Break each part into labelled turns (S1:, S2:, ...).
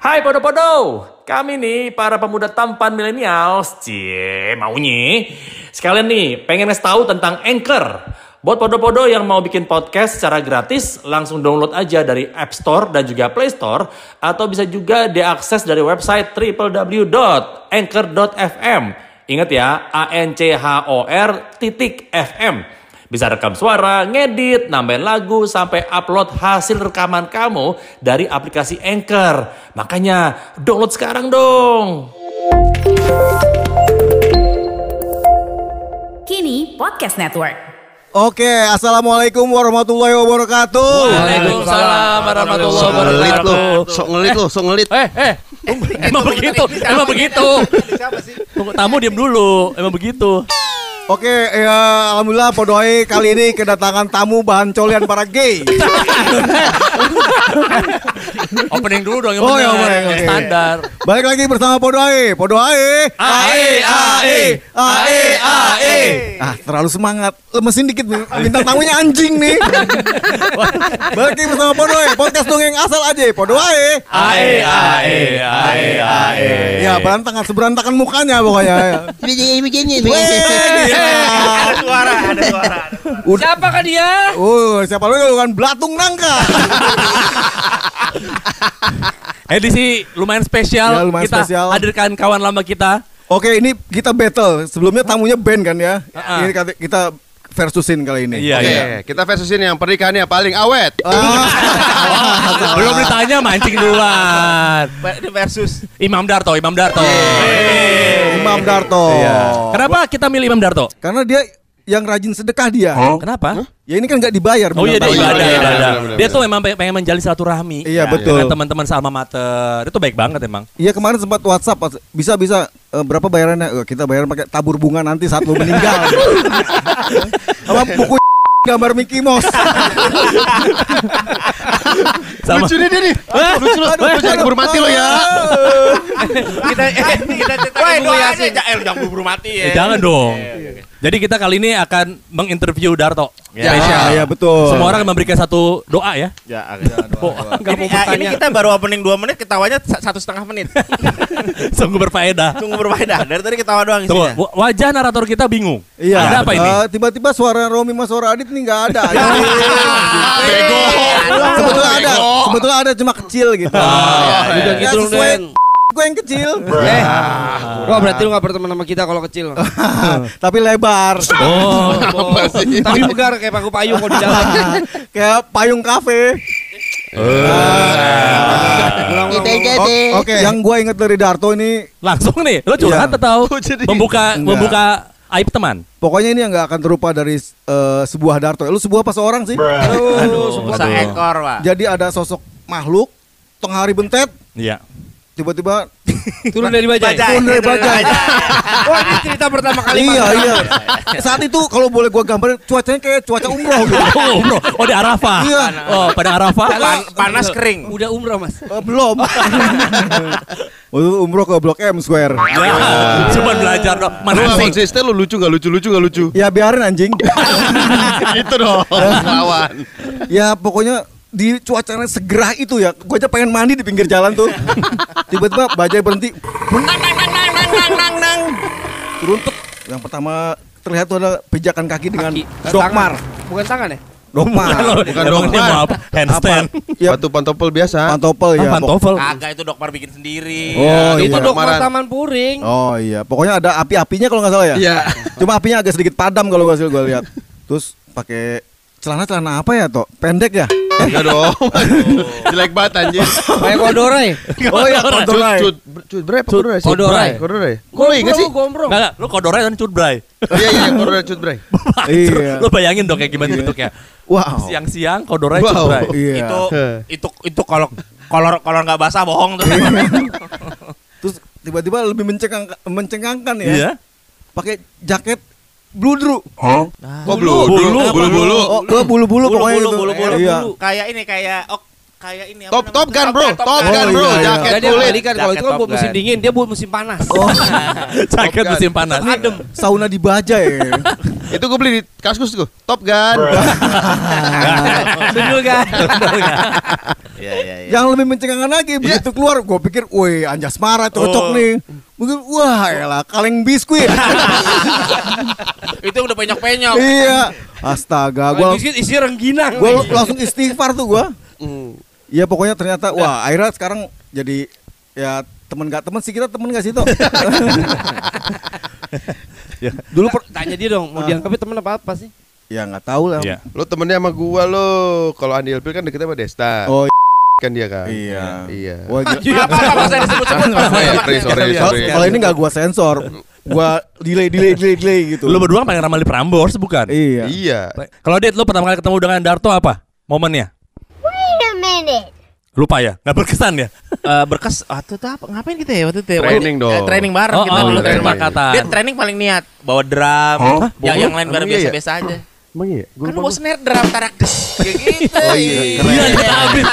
S1: Hai podo-podo, kami nih para pemuda tampan milenial, cie maunya. Sekalian nih pengen ngasih tahu tentang Anchor. Buat podo-podo yang mau bikin podcast secara gratis, langsung download aja dari App Store dan juga Play Store. Atau bisa juga diakses dari website www.anchor.fm. Ingat ya, A-N-C-H-O-R titik FM. Bisa rekam suara, ngedit, nambahin lagu, sampai upload hasil rekaman kamu dari aplikasi Anchor. Makanya download sekarang dong.
S2: Kini Podcast Network.
S3: Oke, assalamualaikum warahmatullahi wabarakatuh.
S1: Waalaikumsalam warahmatullahi
S4: Sok ngelit lo,
S1: wabarakatuh.
S4: sok ngelit lo, sok ngelit.
S1: Eh, eh, emang begitu, emang begitu. Tunggu tamu diam dulu, emang begitu.
S3: Oke, ya alhamdulillah podoi kali ini kedatangan tamu bahan colian para gay.
S1: Opening dulu dong, yang
S3: Oh,
S1: bener,
S3: yang bener,
S1: yang
S3: oke.
S1: standar.
S3: Balik lagi bersama podoi, podoi.
S1: Ae, ae, ae, ae.
S3: Ah, terlalu semangat. Lemesin dikit nih. Bintang tamunya anjing nih. Balik lagi bersama podoi, podcast dongeng asal aja, podoi.
S1: Ae, ae, ae, ae.
S3: Ya, berantakan seberantakan mukanya pokoknya.
S4: Begini, begini,
S3: Weh, gila.
S5: ada suara, ada suara. ada suara.
S1: Siapa kan dia?
S3: Uh, siapa lu bukan belatung nangka.
S1: Edisi lumayan spesial.
S3: Ya, lumayan
S1: kita
S3: spesial.
S1: hadirkan kawan lama kita.
S3: Oke, ini kita battle. Sebelumnya tamunya band kan ya.
S1: Ah.
S3: Ini kata- kita versusin kali ini.
S1: Iya,
S4: Oke,
S1: iya.
S4: kita versusin yang pernikahannya paling awet.
S3: Ah.
S1: Belum ditanya mancing duluan.
S5: Ini versus
S1: Imam Darto, Imam Darto.
S3: Imam Darto.
S1: Iya. Kenapa kita milih Imam Darto?
S3: Karena dia yang rajin sedekah dia.
S1: Kenapa?
S3: Ya ini kan nggak dibayar.
S1: Oh iya dia
S3: Bang Darto.
S4: iya,
S1: ibadah, ibadah.
S4: iya, iya, benar, benar,
S1: Dia
S4: benar.
S1: tuh emang pe- pengen menjalin silaturahmi.
S3: Iya, betul.
S1: Dengan teman-teman sama mater. Itu baik banget emang.
S3: Iya kemarin sempat WhatsApp bisa bisa eh, berapa bayarannya? Eh, kita bayar pakai tabur bunga nanti saat lu meninggal. Apa buku gambar Mickey Mouse.
S1: Sama.
S4: Lucu nih dia nih. Lucu lu,
S3: Aduh,
S4: lu jangan
S3: aduh,
S4: keburu mati lo ya.
S5: kita eh, kita cerita
S6: Woi,
S5: dulu ya
S6: doanya
S5: sih.
S6: jangan, eh, jangan buru mati ya.
S1: Eh, jangan dong. Jadi kita kali ini akan menginterview Darto.
S4: Ya.
S3: Ah, Iya betul.
S1: Semua orang memberikan satu doa ya.
S6: Ya,
S1: Oh, nggak
S6: ini,
S1: mau
S6: ya, ini
S1: bertanya.
S6: kita baru opening 2 menit ketawanya sa- satu setengah menit.
S1: Sungguh berfaedah.
S6: Tunggu berfaedah. Dari tadi ketawa doang
S1: Tunggu,
S5: Iya.
S6: isinya.
S1: wa- wajah narator kita bingung.
S3: Iya.
S1: Ada apa ini?
S3: Eh, tiba-tiba suara Romi sama suara Adit nih nggak ada.
S4: Bego.
S3: sebetulnya ada, sebetulnya ada cuma kecil gitu.
S1: Ah,
S3: Ya,
S1: udah gitu
S3: sesuai gue yang kecil,
S7: Eh, Rob berarti lu gak berteman sama kita kalau kecil.
S3: tapi lebar.
S1: Oh,
S4: Apa sih?
S7: Tapi bugar kayak paku payung kalau di jalan.
S3: Kayak payung kafe. O- Oke, yang gue inget dari Darto ini,
S1: langsung nih. Lo curhat
S3: Iya.
S1: atau membuka membuka aib teman?
S3: pokoknya ini yang nggak akan terlupa dari eh, sebuah Darto. Lu sebuah apa seorang sih?
S1: Aduh,
S6: Usah ekor, Pak.
S3: Jadi ada sosok makhluk tengah hari bentet,
S1: Iya.
S3: tiba-tiba
S7: Turun dari bajai.
S6: Bajai.
S3: turun dari bajai.
S7: Wah, ini cerita pertama kali.
S3: iya iya. Saat itu kalau boleh gue gambarin cuacanya kayak cuaca umroh gitu.
S1: Oh, umroh. Oh, di Arafah.
S3: Iya.
S1: Oh, pada Arafah.
S6: Pan- panas kering.
S7: Udah umroh, Mas.
S3: Eh, belum. Waktu umroh ke Blok M Square.
S1: Ya, Cuma belajar dong.
S4: Lu gak
S1: Manasik.
S4: konsisten lu lucu gak lucu lucu gak lucu.
S3: Ya biarin anjing.
S4: Gitu dong. Lawan.
S3: ya pokoknya di cuacanya segera itu ya. Gue aja pengen mandi di pinggir jalan tuh. Tiba-tiba bajai berhenti. Turun tek. Yang pertama terlihat tuh ada pijakan kaki dengan
S7: Kaki.
S3: dokmar.
S7: Bukan tangan ya?
S3: Dokmar.
S4: Bukan
S1: Emang
S4: dong,
S1: dia
S4: Mar.
S1: mau apa? Handstand.
S3: Ya,
S4: Batu pantopel biasa.
S3: pantopel
S1: Ah,
S3: ya.
S1: pantofel.
S6: Kagak itu dokter bikin sendiri.
S3: Oh
S7: Itu
S3: iya.
S7: dok
S4: Lamaran.
S7: Taman Puring.
S3: Oh iya, pokoknya ada api-apinya kalau nggak salah ya.
S4: Iya.
S3: Cuma apinya agak sedikit padam kalau gak gue lihat. Terus pakai celana celana apa ya, Tok? Pendek ya?
S4: Enggak dong. Jelek banget anjir.
S7: Kayak kodorai.
S3: Oh iya,
S4: Cut,
S3: kodorai.
S4: cut, cut, berapa kodorai sih?
S7: kodorai.
S4: Kodorai. Kodorai enggak sih?
S7: Gombrong.
S1: Enggak, lu kodornya dan cutbray.
S4: Iya, iya, kodorai cut, bray.
S3: Iya.
S1: Lu bayangin dong kayak gimana bentuknya.
S3: Wow.
S1: Siang-siang kodornya
S4: Oh. Wow.
S1: cutbray.
S3: Iya.
S6: Oh, Itu itu itu kalau kolor kolor nggak basah bohong tuh.
S7: Iya.
S3: Terus tiba-tiba lebih mencengangkan, mencengangkan ya.
S1: Iya.
S3: Pakai jaket bludru.
S4: Kok bulu? Bulu, bulu, bulu.
S3: Oh, gua bulu-bulu
S6: bulu
S3: pokoknya
S6: bulu
S3: gitu.
S6: bulu bulu.
S3: Iya.
S6: Kayak ini kayak ok-
S5: kayak ini apa
S4: Top
S5: namanya?
S4: Top Gun bro,
S5: Gun,
S4: Top
S3: Gun.
S4: Gun bro,
S3: Oh, iya, iya.
S4: jaket
S7: Jadi dia
S4: kulit.
S7: balikan kalau itu kan
S6: Jaket
S7: buat
S6: Top
S7: musim
S6: Gun. Oh.
S7: dingin, dia buat musim panas. Oh.
S6: Jaket
S4: Top Gun.
S6: musim panas.
S7: Adem.
S3: Oh, Sauna di baja ya.
S4: Itu gue beli di kaskus gue. Top Gun.
S7: Betul kan?
S5: Iya iya iya.
S3: Yang lebih mencengangkan lagi begitu keluar gue pikir, woi Anjas Mara cocok
S6: Iya. Oh.
S3: nih. Mungkin wah elah kaleng biskuit.
S6: Itu udah penyok-penyok.
S3: iya. Astaga,
S7: Kalau
S3: gua
S7: biskuit isi rengginang.
S3: gua langsung istighfar tuh gua.
S7: Mm.
S3: Iya pokoknya ternyata wah akhirnya sekarang jadi ya temen gak temen sih kita temen gak sih toh
S7: Dulu per- Ya. tanya dia dong, mau dianggapnya temen apa apa sih?
S3: Ah. ya nggak tahu lah
S6: Iya.
S4: Lo temennya sama gua lo. Kalau Andi Elpil kan deketnya sama Desta.
S3: oh
S4: Kan dia kan.
S3: iya
S4: Iya.
S3: Wah, gila.
S6: Apa apa bisa disebut-sebut?
S4: Sorry, sorry,
S6: iya.
S4: sorry,
S3: Kalau-
S4: sorry.
S3: kalau ini nggak gua sensor gua delay delay delay delay gitu
S6: Lu berdua kan pengen ramal di Prambors bukan?
S3: iya
S4: Iya.
S6: Kalau Dit lu pertama kali ketemu dengan Darto apa? Momennya?
S2: Wait a minute.
S6: Lupa ya? Nggak berkesan ya?
S5: Eh, berkas waktu itu apa? Ngapain kita ya waktu itu? ya?
S4: Training
S5: Waktu-
S4: dong.
S5: eh, training bareng
S6: Oh,
S5: kita
S6: oh,
S5: dulu
S6: lu
S5: training.
S6: kesepakatan.
S5: Dia training paling niat bawa drum. Yang yang lain pada
S4: Emang iya ya?
S5: biasa-biasa aja.
S4: Emang iya? Gua
S5: Kan lu
S4: lupa
S5: bawa
S4: gua.
S5: snare drum tarak des. Kayak gitu.
S4: Oh iya, keren.
S5: Iya, kita habis.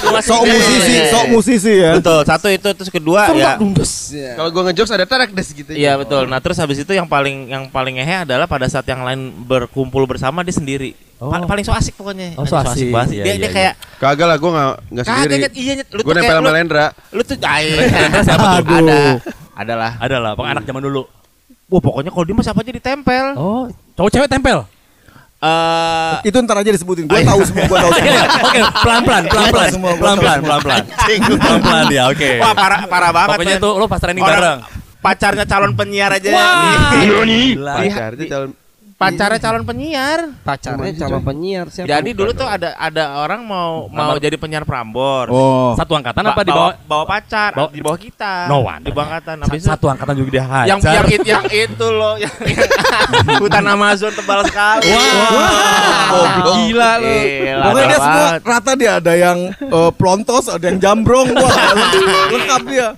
S5: Gua masih
S3: sok
S5: gede.
S3: musisi sok musisi ya
S5: Betul, satu itu terus kedua ya.
S4: Kalau gua ngejokes ada tarak des gitu.
S5: Iya betul. Nah terus habis itu yang paling yang paling ngehe adalah pada saat yang lain berkumpul bersama dia sendiri. Pa- paling so asik pokoknya.
S6: Oh,
S5: Anjing,
S6: so asik.
S5: banget sih.
S6: Iya, iya,
S5: Dia,
S6: iya.
S5: dia kayak
S4: Kagak lah gua nggak nggak sendiri.
S5: kagak Nyet. iya Nyet. lu
S4: Gua
S5: tuh
S4: nempel
S5: kayak
S4: sama
S5: lu,
S4: Lendra.
S5: lu tuh ay, siapa tuh? Ada. Adalah.
S6: Adalah, pokoknya anak zaman dulu.
S5: Wah pokoknya kalau dia mah siapa aja ditempel.
S6: Oh, cowok cewek tempel.
S5: Eh,
S3: itu ntar aja disebutin gua
S7: Iya.
S3: tahu semua gua tahu semua
S6: Oke, pelan-pelan, pelan-pelan.
S3: Semua gua tahu
S6: Pelan-pelan,
S3: semua.
S6: pelan-pelan. Pelan-pelan ya, oke.
S5: wah parah parah banget.
S6: Pokoknya
S5: men.
S6: tuh lu pas training
S5: Orang
S6: bareng.
S5: Pacarnya calon penyiar aja. Iya.
S6: Gila.
S4: Pacarnya calon
S5: Pacarnya calon penyiar.
S7: Pacarnya calon penyiar siapa?
S5: Jadi dulu tuh ada ada orang mau mau jadi penyiar Prambors.
S3: oh
S6: Satu angkatan
S5: Ba-
S6: apa di bawah?
S5: bawa pacar
S6: Bawa-
S5: di bawah kita
S6: No wonder.
S5: di bawah angkatan
S6: Sa-
S5: habis itu
S6: Satu angkatan juga dia hajar.
S5: yang yang, it- yang itu loh yang, yang- hutan Amazon tebal sekali
S4: Goblok.
S5: gila lu
S3: Pokoknya
S5: gila, tebal
S3: dia semua
S5: banget.
S3: rata dia ada yang eh, pelontos, ada yang jambrong, wah lengkap dia.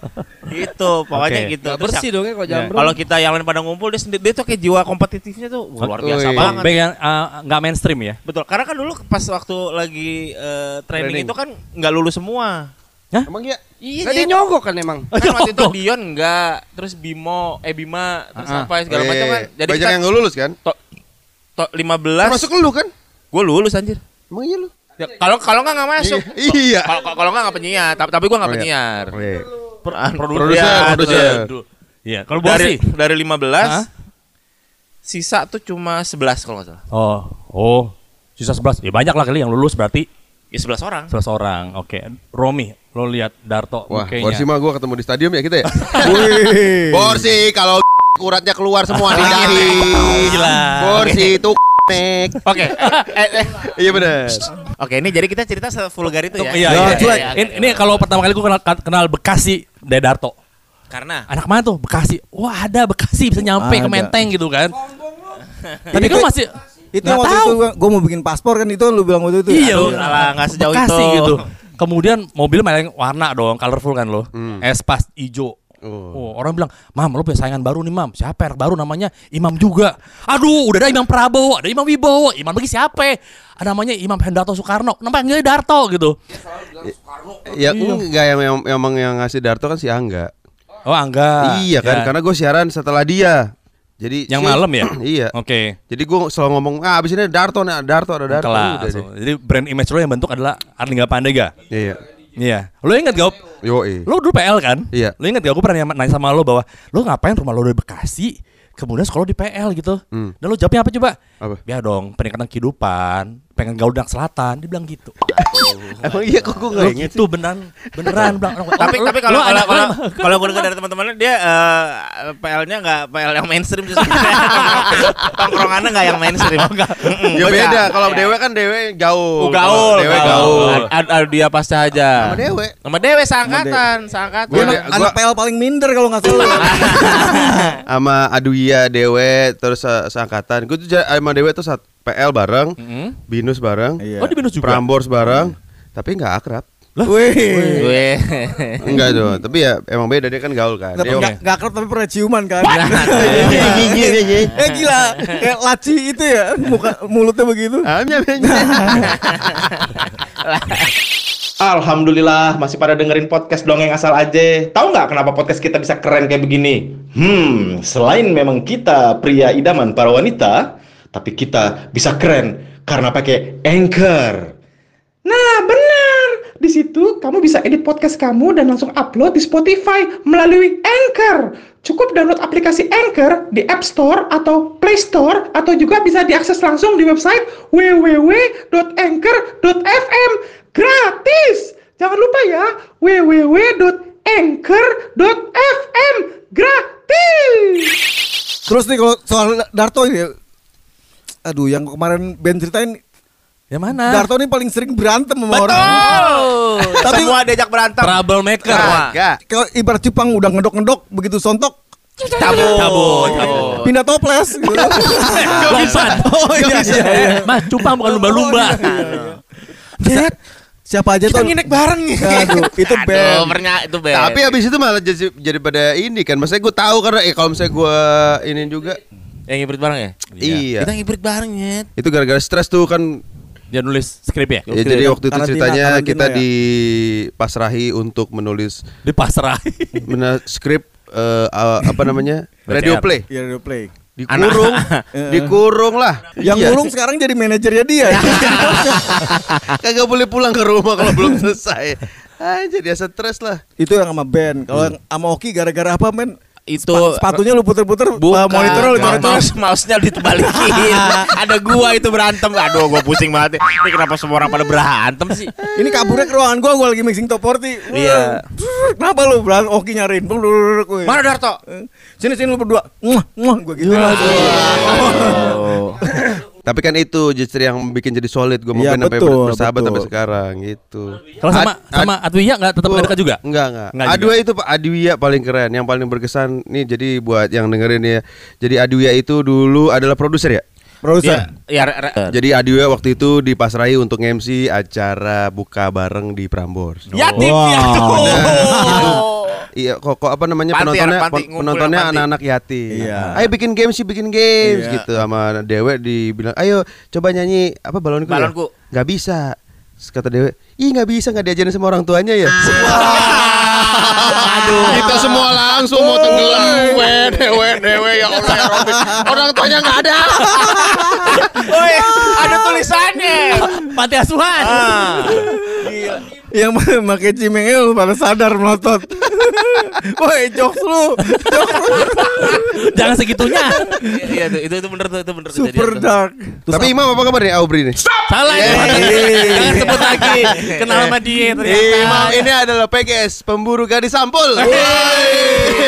S5: gitu pokoknya
S6: Oke.
S5: gitu
S7: Nggak
S5: Terus
S7: bersih
S5: yang-
S7: dong ya kalau jambrong.
S5: kalau kita yang lain pada ngumpul dia sendiri dia tuh kayak jiwa kompetitifnya tuh wah, luar biasa
S4: Wih.
S5: banget
S6: Back yang uh, nggak mainstream ya.
S5: betul karena kan dulu pas waktu lagi eh, training,
S4: Training.
S5: itu kan nggak lulus semua
S4: Emang iya?
S7: Iya, dia nyogok kan emang.
S5: kan waktu itu
S6: Nyogok.
S5: Dion enggak terus Bimo eh Bima terus
S7: Ah, ah.
S5: apa segala macam kan jadi
S4: banyak
S5: kita
S4: yang nggak lulus kan?
S5: to- 15
S4: Termasuk lu kan?
S5: Gue lulus anjir.
S4: Emang iya lu?
S5: Ya, Kalau kalau nggak nggak masuk.
S4: Iya.
S5: Kalau kalau- kalau nggak nggak penyiar. Tapi tapi gue nggak
S4: Oh, iya.
S5: penyiar.
S4: Iya.
S5: Pro-
S4: Produser,
S5: ya,
S4: produser.
S5: dulu.
S6: Iya, kalau buat
S5: Dari
S6: sih.
S5: dari 15
S6: Hah?
S5: sisa tuh cuma 11 kalau nggak salah.
S6: Oh, oh. Sisa 11. Ya banyak lah kali yang lulus berarti
S5: Ya 11 orang.
S6: 11 orang. Oke. Romi, lo lihat Darto
S4: Wah,
S6: mukanya.
S5: iya.
S4: Borsi mah gua ketemu di stadium ya kita ya.
S3: Wih.
S4: Borsi kalau uratnya keluar semua di dahi.
S6: Gila.
S4: Borsi itu nek.
S5: Oke. Eh, eh.
S4: Iya benar.
S5: Oke, ini jadi kita cerita vulgar itu ya.
S6: Iya, iya, iya, iya. Ini, ini kalau pertama kali gue kenal, kenal Bekasi dari Darto.
S5: karena
S6: Anak mana tuh? Bekasi. Wah ada Bekasi bisa nyampe
S3: Ah,
S6: ke
S3: Ada.
S6: Menteng gitu kan. Tapi
S3: Ini
S6: kan
S3: kayak-
S6: masih
S3: Itu
S6: nggak
S3: yang waktu itu gua, gua mau bikin paspor kan itu lu bilang waktu itu.
S6: Iya,
S3: Aduh,
S6: lu-
S5: salah nggak sejauh
S6: Bekasi
S5: itu.
S6: gitu. Kemudian mobil main warna dong, colorful kan lo. Espas ijo. Oh, orang bilang, "Mam, lo punya saingan baru nih, Mam. Siapa merek baru namanya? Imam juga." Aduh, udah ada Imam Prabowo, ada Imam Wibowo, Imam lagi siapa? Ada namanya Imam Hendarto Soekarno. Nampaknya Darto gitu.
S4: Ya enggak yang yang- emang yang ngasih Darto kan si Angga.
S6: Oh, Angga.
S4: iya kan?
S6: Ya.
S4: Karena gue siaran setelah dia. Jadi
S6: yang
S4: si-
S6: malam ya?
S4: iya.
S6: Oke.
S4: Jadi gue selalu ngomong, "Ah, abis ini ada Darto nih, ada Darto ada Darto."
S6: Kelas.
S4: Udah deh.
S6: Jadi brand image lo yang bentuk adalah Arlingga Pandega.
S4: Iya.
S6: Iya. Lo inget gak?
S4: Yo, eh.
S6: Lo dulu PL kan?
S4: Iya.
S6: Lo inget gak? Gue pernah nanya sama lo bahwa lo ngapain rumah lo dari Bekasi, kemudian sekolah di PL gitu.
S4: Hmm.
S6: Dan lo jawabnya apa coba?
S4: Apa?
S6: Biar dong, peningkatan kehidupan, pengen gaul dan selatan. Dia bilang gitu.
S4: Emang iya kok gue
S6: Lo
S4: enggak inget.
S6: gitu beneran, beneran. bilang, "Oh,
S5: tapi
S6: lo-
S5: tapi kalau
S6: lo
S5: kalau
S6: anak-
S5: kalau,
S6: lo-
S5: kalau gue dengar dari teman-temannya dia eh, PL-nya nggak PL yang mainstream sih sebenarnya. Tongkrongannya Oh, nggak yang mainstream. Mm-mm,
S4: Ya
S5: gua
S4: beda,
S5: nggak-
S4: kalau
S5: iya.
S4: Dewe kan Dewe gaul.
S5: Oh, gaul,
S4: Dewe
S5: gaul.
S4: gaul.
S5: Ad- ad- dia pasti aja.
S4: Sama Dewe.
S5: Sama Dewe seangkatan, seangkatan.
S3: Dia
S4: Gua-
S3: emang
S4: gua-
S3: anak PL paling minder kalau nggak salah.
S4: sama Aduya Dewe terus eh, seangkatan. Gue tuh ja- sama Dewe tuh saat PL bareng, Binus bareng,
S3: Iya.
S6: Oh di Binus juga?
S4: Prambors bareng, tapi nggak akrab.
S3: Wih.
S5: Gue.
S4: Enggak dong, tapi ya emang beda dia kan gaul kan. Dia-
S3: Nggak nggak akrab tapi pernah ciuman kan. eh gila, kayak laci itu ya, muka mulutnya begitu.
S4: Amnya, amnya.
S8: Alhamdulillah masih pada dengerin podcast dongeng asal aja. Tahu nggak kenapa podcast kita bisa keren kayak begini? Hmm, selain memang kita pria idaman para wanita, tapi kita bisa keren karena pakai Anchor. Nah, benar. Di situ kamu bisa edit podcast kamu dan langsung upload di Spotify melalui Anchor. Cukup download aplikasi Anchor di App Store atau Play Store atau juga bisa diakses langsung di website www.anchor.fm. Gratis. Jangan lupa ya, www.anchor.fm. Gratis.
S3: Terus nih kalau soal Darto ini Aduh yang kemarin Ben ceritain
S6: Yang mana?
S3: Darto ini paling sering berantem sama orang
S5: Betul.
S3: Tapi-
S5: Semua diajak berantem.
S6: Troublemaker.
S4: Ah,
S5: Kagak.
S3: Kalau ibarat Jepang udah ngedok-ngedok Begitu sontok
S5: Tabu.
S6: Cabut, cabut.
S3: Pindah toples gitu.
S6: Lompat. Oh iya. iya. Mas, cupang bukan lumba-lumba.
S4: Oh,
S3: Iya,
S4: iya.
S3: Cet, Siapa aja tuh
S7: nginep bareng nih.
S3: Aduh itu
S5: Aduh,
S3: Ben
S5: pernah itu Ben.
S4: Tapi abis itu malah jadi, jadi pada ini kan. Maksudnya gue tahu karena eh, kalau misalnya gue ini juga.
S5: yang ngibrit bareng ya?
S4: Iya.
S5: Kita ngibrit bareng ya.
S4: Itu gara-gara stres tuh kan.
S6: Dia nulis skrip ya?
S4: Ya, jadi waktu itu
S3: Karantina,
S4: ceritanya
S3: karantina
S4: kita
S3: ya.
S4: dipasrahi untuk menulis
S6: Di pasrah.
S4: mena- skrip eh, a- apa namanya radio
S6: BCR.
S4: play
S3: Ya udah play
S4: dikurung dikurung lah
S3: Yang
S4: Iya.
S3: ngurung sekarang jadi manajernya dia ya.
S4: kagak boleh pulang ke rumah kalau belum selesai ah jadi asal stres lah
S3: Itu yang sama Ben Kalau yang sama Oki gara-gara apa men
S5: Itu
S3: Sepatunya lu puter-puter eh,
S5: Bukan,
S3: Monitor lu
S5: Ma-
S3: coret-coret.
S5: mouse, mouse-nya ditebalikin Ada gua itu berantem Aduh gua pusing banget nih. Ini kenapa semua orang pada berantem sih
S3: Ini kaburnya ke ruangan gua, gua lagi mixing top 40. Wah,
S5: Iya.
S3: brrr, Kenapa lu? Bang Oki nyariin. Bang, dulu, dulu, dulu.
S5: Mana Darto?
S3: Eh, Sini sini lu berdua. Muah, muah gua gitu.
S4: tapi kan itu justru yang bikin jadi solid gue mau
S3: Iya,
S4: main sampai
S3: betul,
S4: bersahabat
S3: betul.
S4: sampai sekarang gitu
S6: Kalau sama
S4: Ad-
S6: sama Atwiya enggak tetap nggak dekat juga?
S4: Oh, Enggak, enggak.
S6: Enggak
S4: Adwia itu Pak Adwia paling keren, yang paling berkesan nih jadi buat yang dengerin ya. Jadi Adwia itu dulu adalah produser ya.
S3: Produser.
S5: Dia, ya, re- re-
S4: Jadi Adwia waktu itu dipasrai untuk MC acara buka bareng di Prambors.
S5: Yatim piatu
S4: Iya, kok, kok apa namanya
S5: Panti,
S4: penontonnya
S5: anak panti,
S4: pen-
S5: ngumpul
S4: penontonnya
S5: anak panti.
S4: anak-anak yatim.
S3: Iya.
S4: Ayo bikin games sih, bikin games
S3: Iya.
S4: gitu sama Dewe dibilang, "Ayo coba nyanyi apa balonku."
S5: Balonku.
S4: Ya? Gak bisa. Terus kata Dewe, "Ih, gak bisa, gak diajarin sama orang tuanya ya." Aduh. Nah, Kita semua langsung mau tenggelam. Dewe, Dewe, Dewe ya Allah ya Robin. Orang tuanya gak ada.
S5: Woi, ada tulisannya Ah.
S6: Panti asuhan.
S3: Yang pakai cimengnya lu pada sadar melotot. Woi, jokes lu. Jokes lu.
S6: Jangan segitunya.
S5: Iya, Iya tuh, itu, itu bener tuh, itu bener tuh
S3: Super
S5: kejadian tuh.
S3: dark.
S4: Tapi Imam apa kabar nih Aubrey nih?
S6: Salah ya.
S5: Iya,
S6: Jangan sebut lagi. Kenal sama dia
S5: Iya.
S4: Imam
S6: ternyata.
S4: ini adalah PGS, pemburu gadis sampul.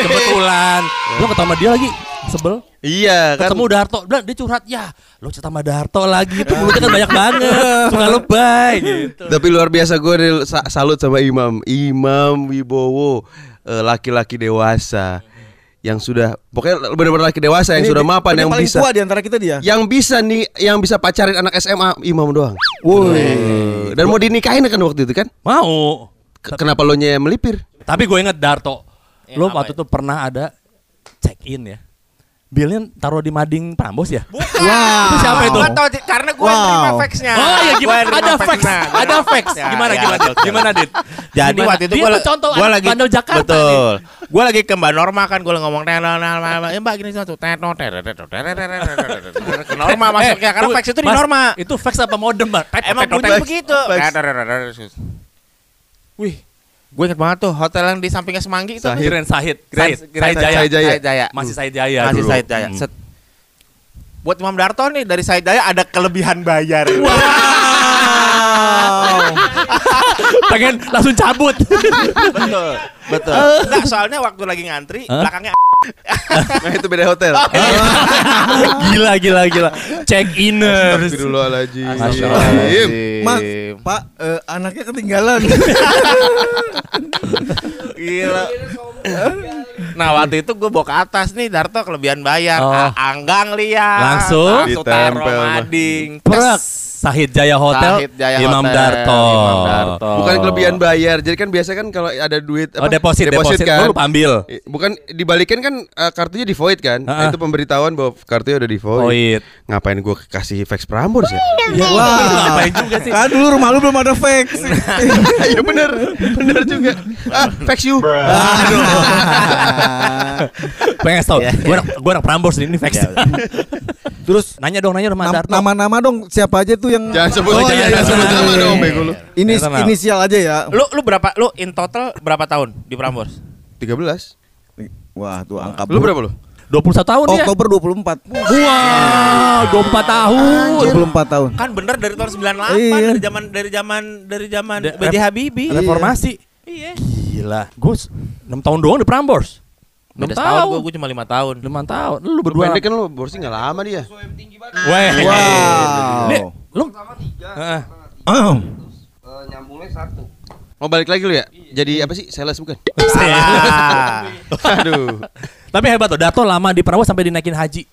S6: Kebetulan. Lu ketemu sama dia lagi. Sebel.
S4: Iya, kan.
S6: Ketemu Darto, bilang dia curhat ya. Lo cerita sama Darto lagi itu mulutnya kan banyak banget. Suka lebay
S5: Iya.
S6: gitu.
S4: Tapi luar biasa gue del- sa- salut sama Imam Imam Wibowo eh, Laki-laki dewasa Yang sudah Pokoknya benar-benar laki dewasa Yang
S3: Ini
S4: sudah
S3: di-
S4: mapan
S3: ini
S4: Yang
S3: paling
S4: bisa Ya.
S3: tua di antara kita dia.
S4: Yang bisa nih Yang bisa pacarin anak SMA Imam doang
S3: Woi.
S4: Eh, Dan mau dinikahin kan waktu itu kan
S6: Mau.
S4: Ke- Kenapa lo nya melipir
S6: Tapi gue inget Darto.
S5: Ya,
S6: Lo
S5: apa
S6: waktu itu pernah ada check in ya. Bilnya taruh di mading Prambos ya?
S5: Bukan
S3: Wow.
S6: Itu siapa itu?
S5: Gua tau, karena gue
S3: Wow.
S5: terima faxnya
S6: Oh iya gimana?
S5: Gua nerima
S6: Ada fax,
S5: faxnya.
S6: ada fax. Gimana
S5: Ya, ya,
S6: gimana?
S5: betul.
S6: Gimana dit?
S5: Jadi
S6: Gimana?
S5: waktu itu
S6: dia
S5: gue
S6: tuh contoh
S5: gua
S6: anak
S5: lagi
S6: Bandung Jakarta
S5: Betul.
S6: nih.
S5: Gue lagi ke Mbak Norma kan gue ngomong "Tenor, Norma, Norma." Eh, Mbak gini satu Tenor, tenor, tenor, tenor, tenor, tenor, tenor." Ke Norma masuknya
S6: Eh,
S5: karena
S6: tunggu,
S5: fax itu di
S6: Mas,
S5: Norma.
S6: Itu fax apa modem, Bang? Tet,
S5: Emang
S6: tet, tet,
S5: bunyi
S6: tet.
S5: begitu. Tenor, tenor, tenor, tenor. Wih, gue inget banget tuh hotel yang di sampingnya Semanggi itu. apa sih?
S6: Grand Sahid. Sahid.
S5: Grand-
S6: Sahid
S5: Grand-
S6: Jaya.
S5: Sahid Jaya.
S6: Masih Sahid Jaya.
S5: Masih
S6: dulu.
S5: Said Daya.
S6: Hmm.
S5: Set. Buat Imam Darto nih dari Said Daya ada kelebihan bayar.
S6: Pengen langsung cabut.
S5: betul, Eh. betul. Enggak, soalnya waktu lagi ngantri
S6: Hah?
S5: belakangnya Oh, iya.
S4: Nah itu beda hotel Ah,
S6: gila gila gila. Check inner.
S4: Astagfirullahaladzim
S5: Iya.
S3: Mas, Pak, eh, anaknya ketinggalan.
S5: Gila. Nah waktu itu gue bawa ke atas nih Darto kelebihan bayar
S6: Oh.
S5: A- Anggang lihat
S6: Langsung?
S5: Langsung taruh
S4: Ditempel.
S5: mading
S6: Prak.
S5: Tes.
S6: Sahid Jaya Hotel,
S5: Sahid Jaya
S6: Imam,
S5: Hotel,
S6: Darto.
S5: Imam Darto.
S4: Bukan kelebihan bayar. Jadi kan biasa kan kalau ada duit
S6: Oh deposit, deposit, Lu
S4: kan.
S6: lupa ambil.
S4: Eh, Bukan dibalikin kan eh, kartunya di void kan?
S6: Ah, ah.
S4: Itu pemberitahuan bahwa kartunya udah di void.
S6: Void.
S4: Ngapain gua kasih fax Prambors ya?
S3: Iya. Wah,
S6: juga sih.
S3: kan dulu rumah lu belum ada fax.
S4: Iya bener, bener juga. Ah, fax you.
S6: Pengen tau.
S5: Iya,
S6: Gue anak, gue anak Prambors nih, ini fax. Terus nanya dong, nanya sama
S3: Nam-
S6: Darto.
S3: Nama-nama dong siapa aja tuh yang
S4: Jangan
S3: Oh,
S4: sebut, jangan,
S3: iya,
S4: jangan
S3: iya,
S4: sebut
S3: iya,
S4: nama
S3: iya,
S4: dong,
S3: iya.
S4: bego lu.
S3: Ini
S6: Internal.
S3: inisial aja ya.
S5: Lu lu berapa lu in total berapa tahun di Prambors?
S4: 13.
S3: Wah, tuh
S6: Ah,
S3: angka.
S4: Lu berapa lu?
S6: 21 tahun Ah, ya.
S3: Oktober 24.
S6: Wah, 24
S5: Iya.
S6: tahun.
S3: 24 tahun.
S5: Kan bener dari tahun 98
S3: Iya.
S5: dari zaman dari zaman dari zaman
S6: Da-
S5: BJ Habibie.
S6: Reformasi.
S5: Iya.
S6: Gila. Gue 6 tahun doang di Prambors. 6
S5: Beda tahun
S6: tahun.
S5: gue cuma 5 tahun.
S6: 5 tahun. Lu
S4: Lu
S6: berdua.
S4: pendek kan lu borsi nggak lama dia.
S6: Weh. Ini,
S3: Wow.
S6: Lu Heeh.
S3: Ah.
S7: Nyambungnya satu.
S4: Mau balik lagi lu ya? Jadi apa sih? Sales bukan?
S5: Ah.
S4: Aduh.
S6: Tapi hebat loh, Dato lama di Prambors sampai dinaikin haji.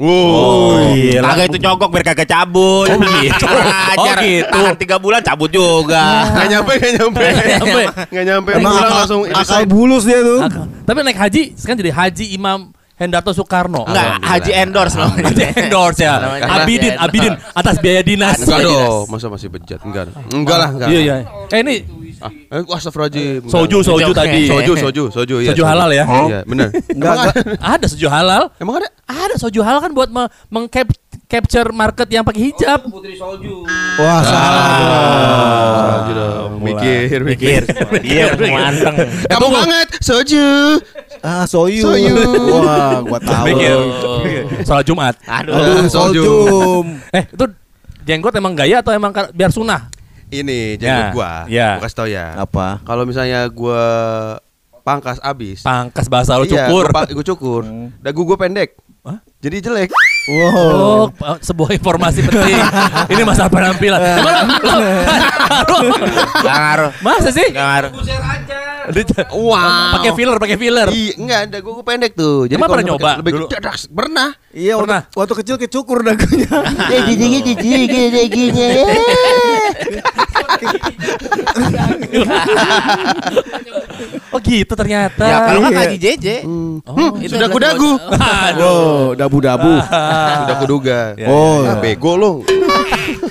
S4: Wow.
S6: Oh.
S5: Kagak itu nyogok biar kagak cabut. Oh
S6: gitu.
S5: Ajar.
S6: Oh gitu.
S5: Tahan 3 bulan cabut juga.
S4: Nggak nyampe, nggak nyampe.
S6: Sampai.
S4: Nggak nyampe.
S3: Emang
S4: pulang
S3: akal,
S4: langsung
S3: akal bulus dia tuh.
S6: Akal. Tapi naik haji sekarang jadi Haji Imam Hendarto Soekarno.
S5: Enggak, Haji endorse namanya.
S6: Oh, Haji endorse ya.
S5: Namanya
S6: Abidin,
S5: Haji
S6: Abidin atas biaya dinas.
S4: Enggak dong, masa masih bejat? Enggak. Enggak lah, enggak.
S6: Oh, Iya, iya. Eh ini
S4: Ah, eh, astagfirullahaladzim.
S6: soju
S4: Enggak,
S6: soju
S5: Oke.
S6: tadi.
S4: enggak. soju, soju, soju, iya.
S6: Soju halal ya?
S4: Iya, benar.
S3: Enggak, enggak.
S6: Ada soju halal.
S4: Emang ada?
S6: Ada soju halal kan buat me- mengcap- capture market yang pakai hijab.
S7: Putri Solju.
S3: Wah,
S6: Ah,
S3: salah.
S4: Soju dong. Ah, Mikir, mikir.
S5: Iya, manteng.
S6: Eh,
S4: Kamu banget, soju.
S3: Ah, soyu.
S4: Soyu.
S3: Wah, gua tahu.
S6: Mikir. Salat Jumat.
S4: Ah,
S3: Aduh, sojum.
S6: Eh, itu jenggot emang gaya atau emang kar- biar sunah?
S4: Ini
S6: Ya,
S4: jenggot gua.
S6: ya.
S4: Gua kasih tau ya.
S3: Apa?
S4: Kalau misalnya gua pangkas abis.
S6: Pangkas bahasa lu cukur. Hmm.
S4: Iya, gua, pa- gua cukur. Dagu gua pendek.
S6: Hah?
S4: Jadi jelek.
S3: Wow.
S6: Oh, pa- sebuah informasi penting. Ini masalah penampilan. Emang lo- lo-
S5: Enggak Eh. ngaruh.
S6: Masa sih?
S5: Enggak ngaruh.
S4: Wow.
S6: Pakai filler, pakai filler.
S4: Iya, enggak, dagu gua pendek tuh. Jadi
S6: Emang
S4: kalau
S6: pernah
S4: misalkan
S6: nyoba
S4: Lebih
S6: dulu?
S4: Dadak, pernah.
S3: Iya,
S6: Pernah.
S3: waktu, waktu kecil kecukur dagunya.
S6: Oh gitu ternyata.
S5: Ya kalau kan
S3: Iya.
S5: Haji JJ.
S4: Hmm,
S5: itu
S4: sudah
S5: adalah-
S4: kudagu. Oh,
S3: wow, dabu-dabu. Ah.
S4: Sudah kuduga.
S3: Oh,
S4: Ah, bego lu.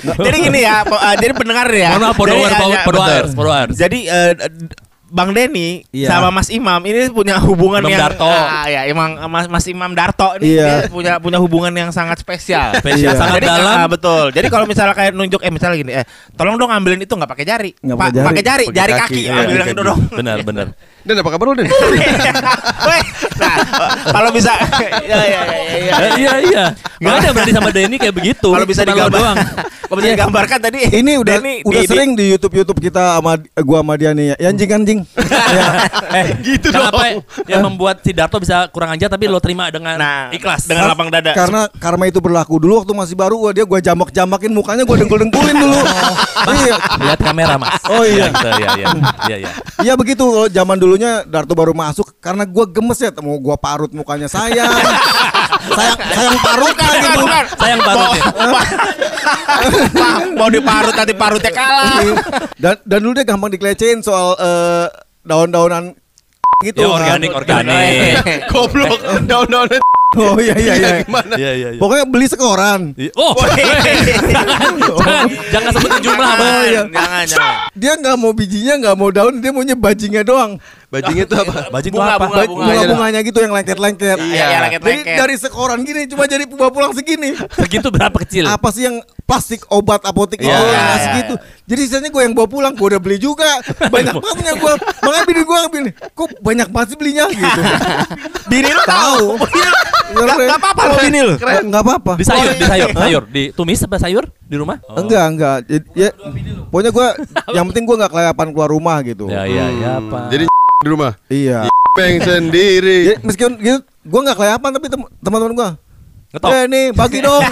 S5: Jadi gini ya, po- eh, jadi pendengar ya.
S6: Mohon maaf, Podowares,
S5: Jadi,
S6: Podowares,
S5: eh,
S6: Podowares, Podowares.
S5: Jadi eh, d- Bang Denny
S3: Iya.
S5: sama Mas Imam ini punya hubungan
S6: Imam
S5: yang
S6: Darto.
S5: Ah, ya, emang eh, Mas, Mas Imam Darto ini
S3: Iya.
S5: dia punya punya hubungan yang sangat spesial.
S6: Spesial,
S3: Iya.
S6: sangat
S5: Jadi,
S6: dalam.
S5: ah, betul. Jadi kalau misalnya kayak nunjuk eh misalnya gini, eh tolong dong ambilin itu nggak pakai jari.
S3: Nggak
S5: Pa-
S3: pakai jari.
S5: Pakai jari,
S4: Pakai
S5: jari
S4: kaki,
S5: kaki.
S4: iya,
S5: Ambil
S4: pakai
S5: yang itu
S4: kaki.
S5: dong. Iya,
S6: Benar, benar.
S4: Dan apa kabar lu, Den?
S5: Weh, nah, kalau bisa ya, ya, ya, ya, ya.
S6: Eh, iya iya. Gak ada berarti sama Denny kayak begitu.
S5: Kalau bisa
S6: Cuma lo
S5: digambar,
S6: doang. Iya.
S5: kalau bisa digambarkan tadi
S3: Iya. Ini udah
S5: Denny di-
S3: udah
S5: di-
S3: sering di YouTube YouTube kita sama gua sama dia nih. Ya, anjing anjing.
S6: eh, gitu kenapa dong. yang membuat si Darto bisa kurang aja tapi lo terima dengan
S5: Nah,
S6: ikhlas.
S5: dengan lapang dada.
S3: Karena karma itu berlaku dulu waktu masih baru gua dia gua jamak-jamakin mukanya gua dengkul-dengkulin dulu. iya.
S6: lihat kamera, Mas.
S3: Oh, iya.
S6: Gitu, Iya iya. Iya iya.
S3: Iya begitu kalau zaman dulunya Darto baru masuk karena gua gemes ya mau gua parut mukanya sayang. sayang sayang parut lah
S5: Bukan,
S3: gitu.
S5: bukan.
S6: Sayang ya. parutnya.
S5: Mau- Pak,
S3: kan?
S5: mau diparut nanti parutnya kalah.
S3: dan dan dulu dia gampang dikelecehin soal eh, daun-daunan gitu.
S6: Ya
S3: kan.
S6: organik organik.
S5: Iya.
S4: Goblok. Down-down.
S3: Oh iya iya iya.
S4: Gimana?
S6: Iya iya iya.
S3: Pokoknya beli sekoran.
S6: Oh, jangan, jangan sebutin jumlah,
S5: jangan,
S6: Bang.
S5: jangan, jangan.
S3: Dia nggak mau bijinya, nggak mau daun, dia maunya bajingnya doang.
S4: Bajing itu apa?
S6: Bajing tuh
S5: Bunga,
S6: apa?
S5: bunga, bunga.
S3: Bunga-bunganya gitu yang lengket-lengket.
S5: Iya, iya,
S3: Jadi
S5: lengket-lengket.
S3: dari sekoran gini cuma jadi buah pulang segini.
S6: Segitu berapa kecil?
S3: Apa sih yang plastik obat apotek itu
S4: Iya, iya,
S3: yang
S5: iya,
S3: segitu. Jadi sisanya gue yang bawa pulang, gue udah beli juga. Banyak banget punya gue. Makanya bini gue gini, kok banyak banget sih belinya gitu.
S5: Bini lu tahu.
S3: Tahu.
S5: Gak
S3: Keren.
S5: gak apa-apa lo bini lu.
S3: Nggak- Nggak apa-apa. Oh.
S6: Di sayur, di sayur, sayur, di tumis apa sayur di rumah? Oh.
S3: Enggak, enggak. Jadi, ya, pokoknya gue, yang penting gue nggak kelayapan keluar rumah gitu.
S6: Ya iya ya
S4: Hmm,
S6: apa?
S4: Jadi di rumah.
S3: Iya.
S4: Peng sendiri.
S5: Iya.
S3: Jadi meskipun gitu, gue nggak kelayapan tapi tem- teman-teman gue.
S6: Ngetop.
S3: Eh nih bagi dong.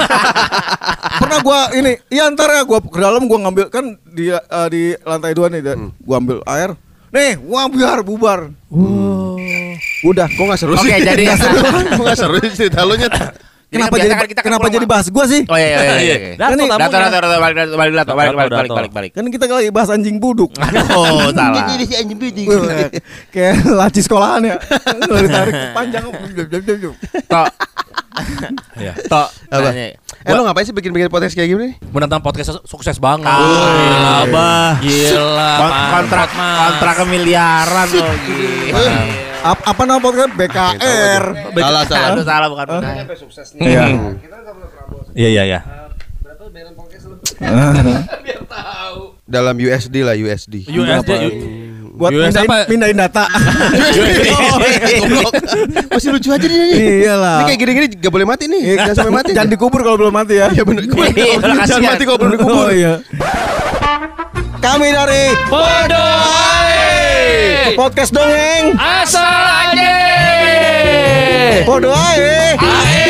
S3: Pernah gue ini,
S5: Hmm.
S3: iya ntar ya gue ke dalam gue ngambil kan di eh, di lantai dua nih, dan gue ambil air. Nih, wah biar bubar. Udah.
S4: Kok gak seru
S5: Oke,
S4: sih?
S5: jadi-
S4: Nggak seru. Kok gak seru sih cerita lu nyet?
S3: Kenapa
S5: biasa
S3: jadi
S5: kan kita kan
S3: kenapa
S5: pulang
S3: jadi
S5: malam.
S3: bahas gua sih?
S5: Oh iya iya iya. iya.
S1: Dato
S3: Ini-
S1: tamunya.
S5: Dato, dato, dato, balik, dato, balik, dato, balik, balik,
S1: Dato,
S5: balik,
S1: dato.
S5: balik, balik.
S3: Kan kita lagi bahas anjing buduk.
S5: Oh, salah.
S4: si anjing bidik.
S3: Wah, Kayak laci sekolahan ya. Lalu ditarik panjang.
S5: Tok.
S6: Iya.
S5: Tok.
S4: Apa?
S5: nanya.
S4: Eh lu ngapain sih bikin-bikin podcast kayak gini?
S6: Menentang podcast sukses banget.
S5: Ah,
S6: gila, bah. Gila.
S5: Kon-
S6: Pak.
S5: kontrak kontrak oh, kemiliaran loh gila.
S3: Ap- Apa nama podcast? BKR.
S4: Salah, salah.
S5: Aduh, salah bukan benar.
S3: Iya.
S6: Iya, iya, iya.
S4: Dalam USD lah USD.
S6: USD.
S3: Buat
S6: US
S3: mindahin,
S6: apa?
S3: mindahin data.
S4: Goblok. Masih lucu aja nih. nih.
S3: Iyalah. Iya.
S4: Ini kayak gini-gini gak boleh mati nih. Jangan sampai mati.
S3: Jangan dikubur kalau belum mati ya.
S4: Iya bener. Jangan
S5: kasihan.
S4: mati kalau belum dikubur.
S3: Oh, iya. Kami dari Podcast Dongeng
S1: Asal aja.
S3: Podo ae.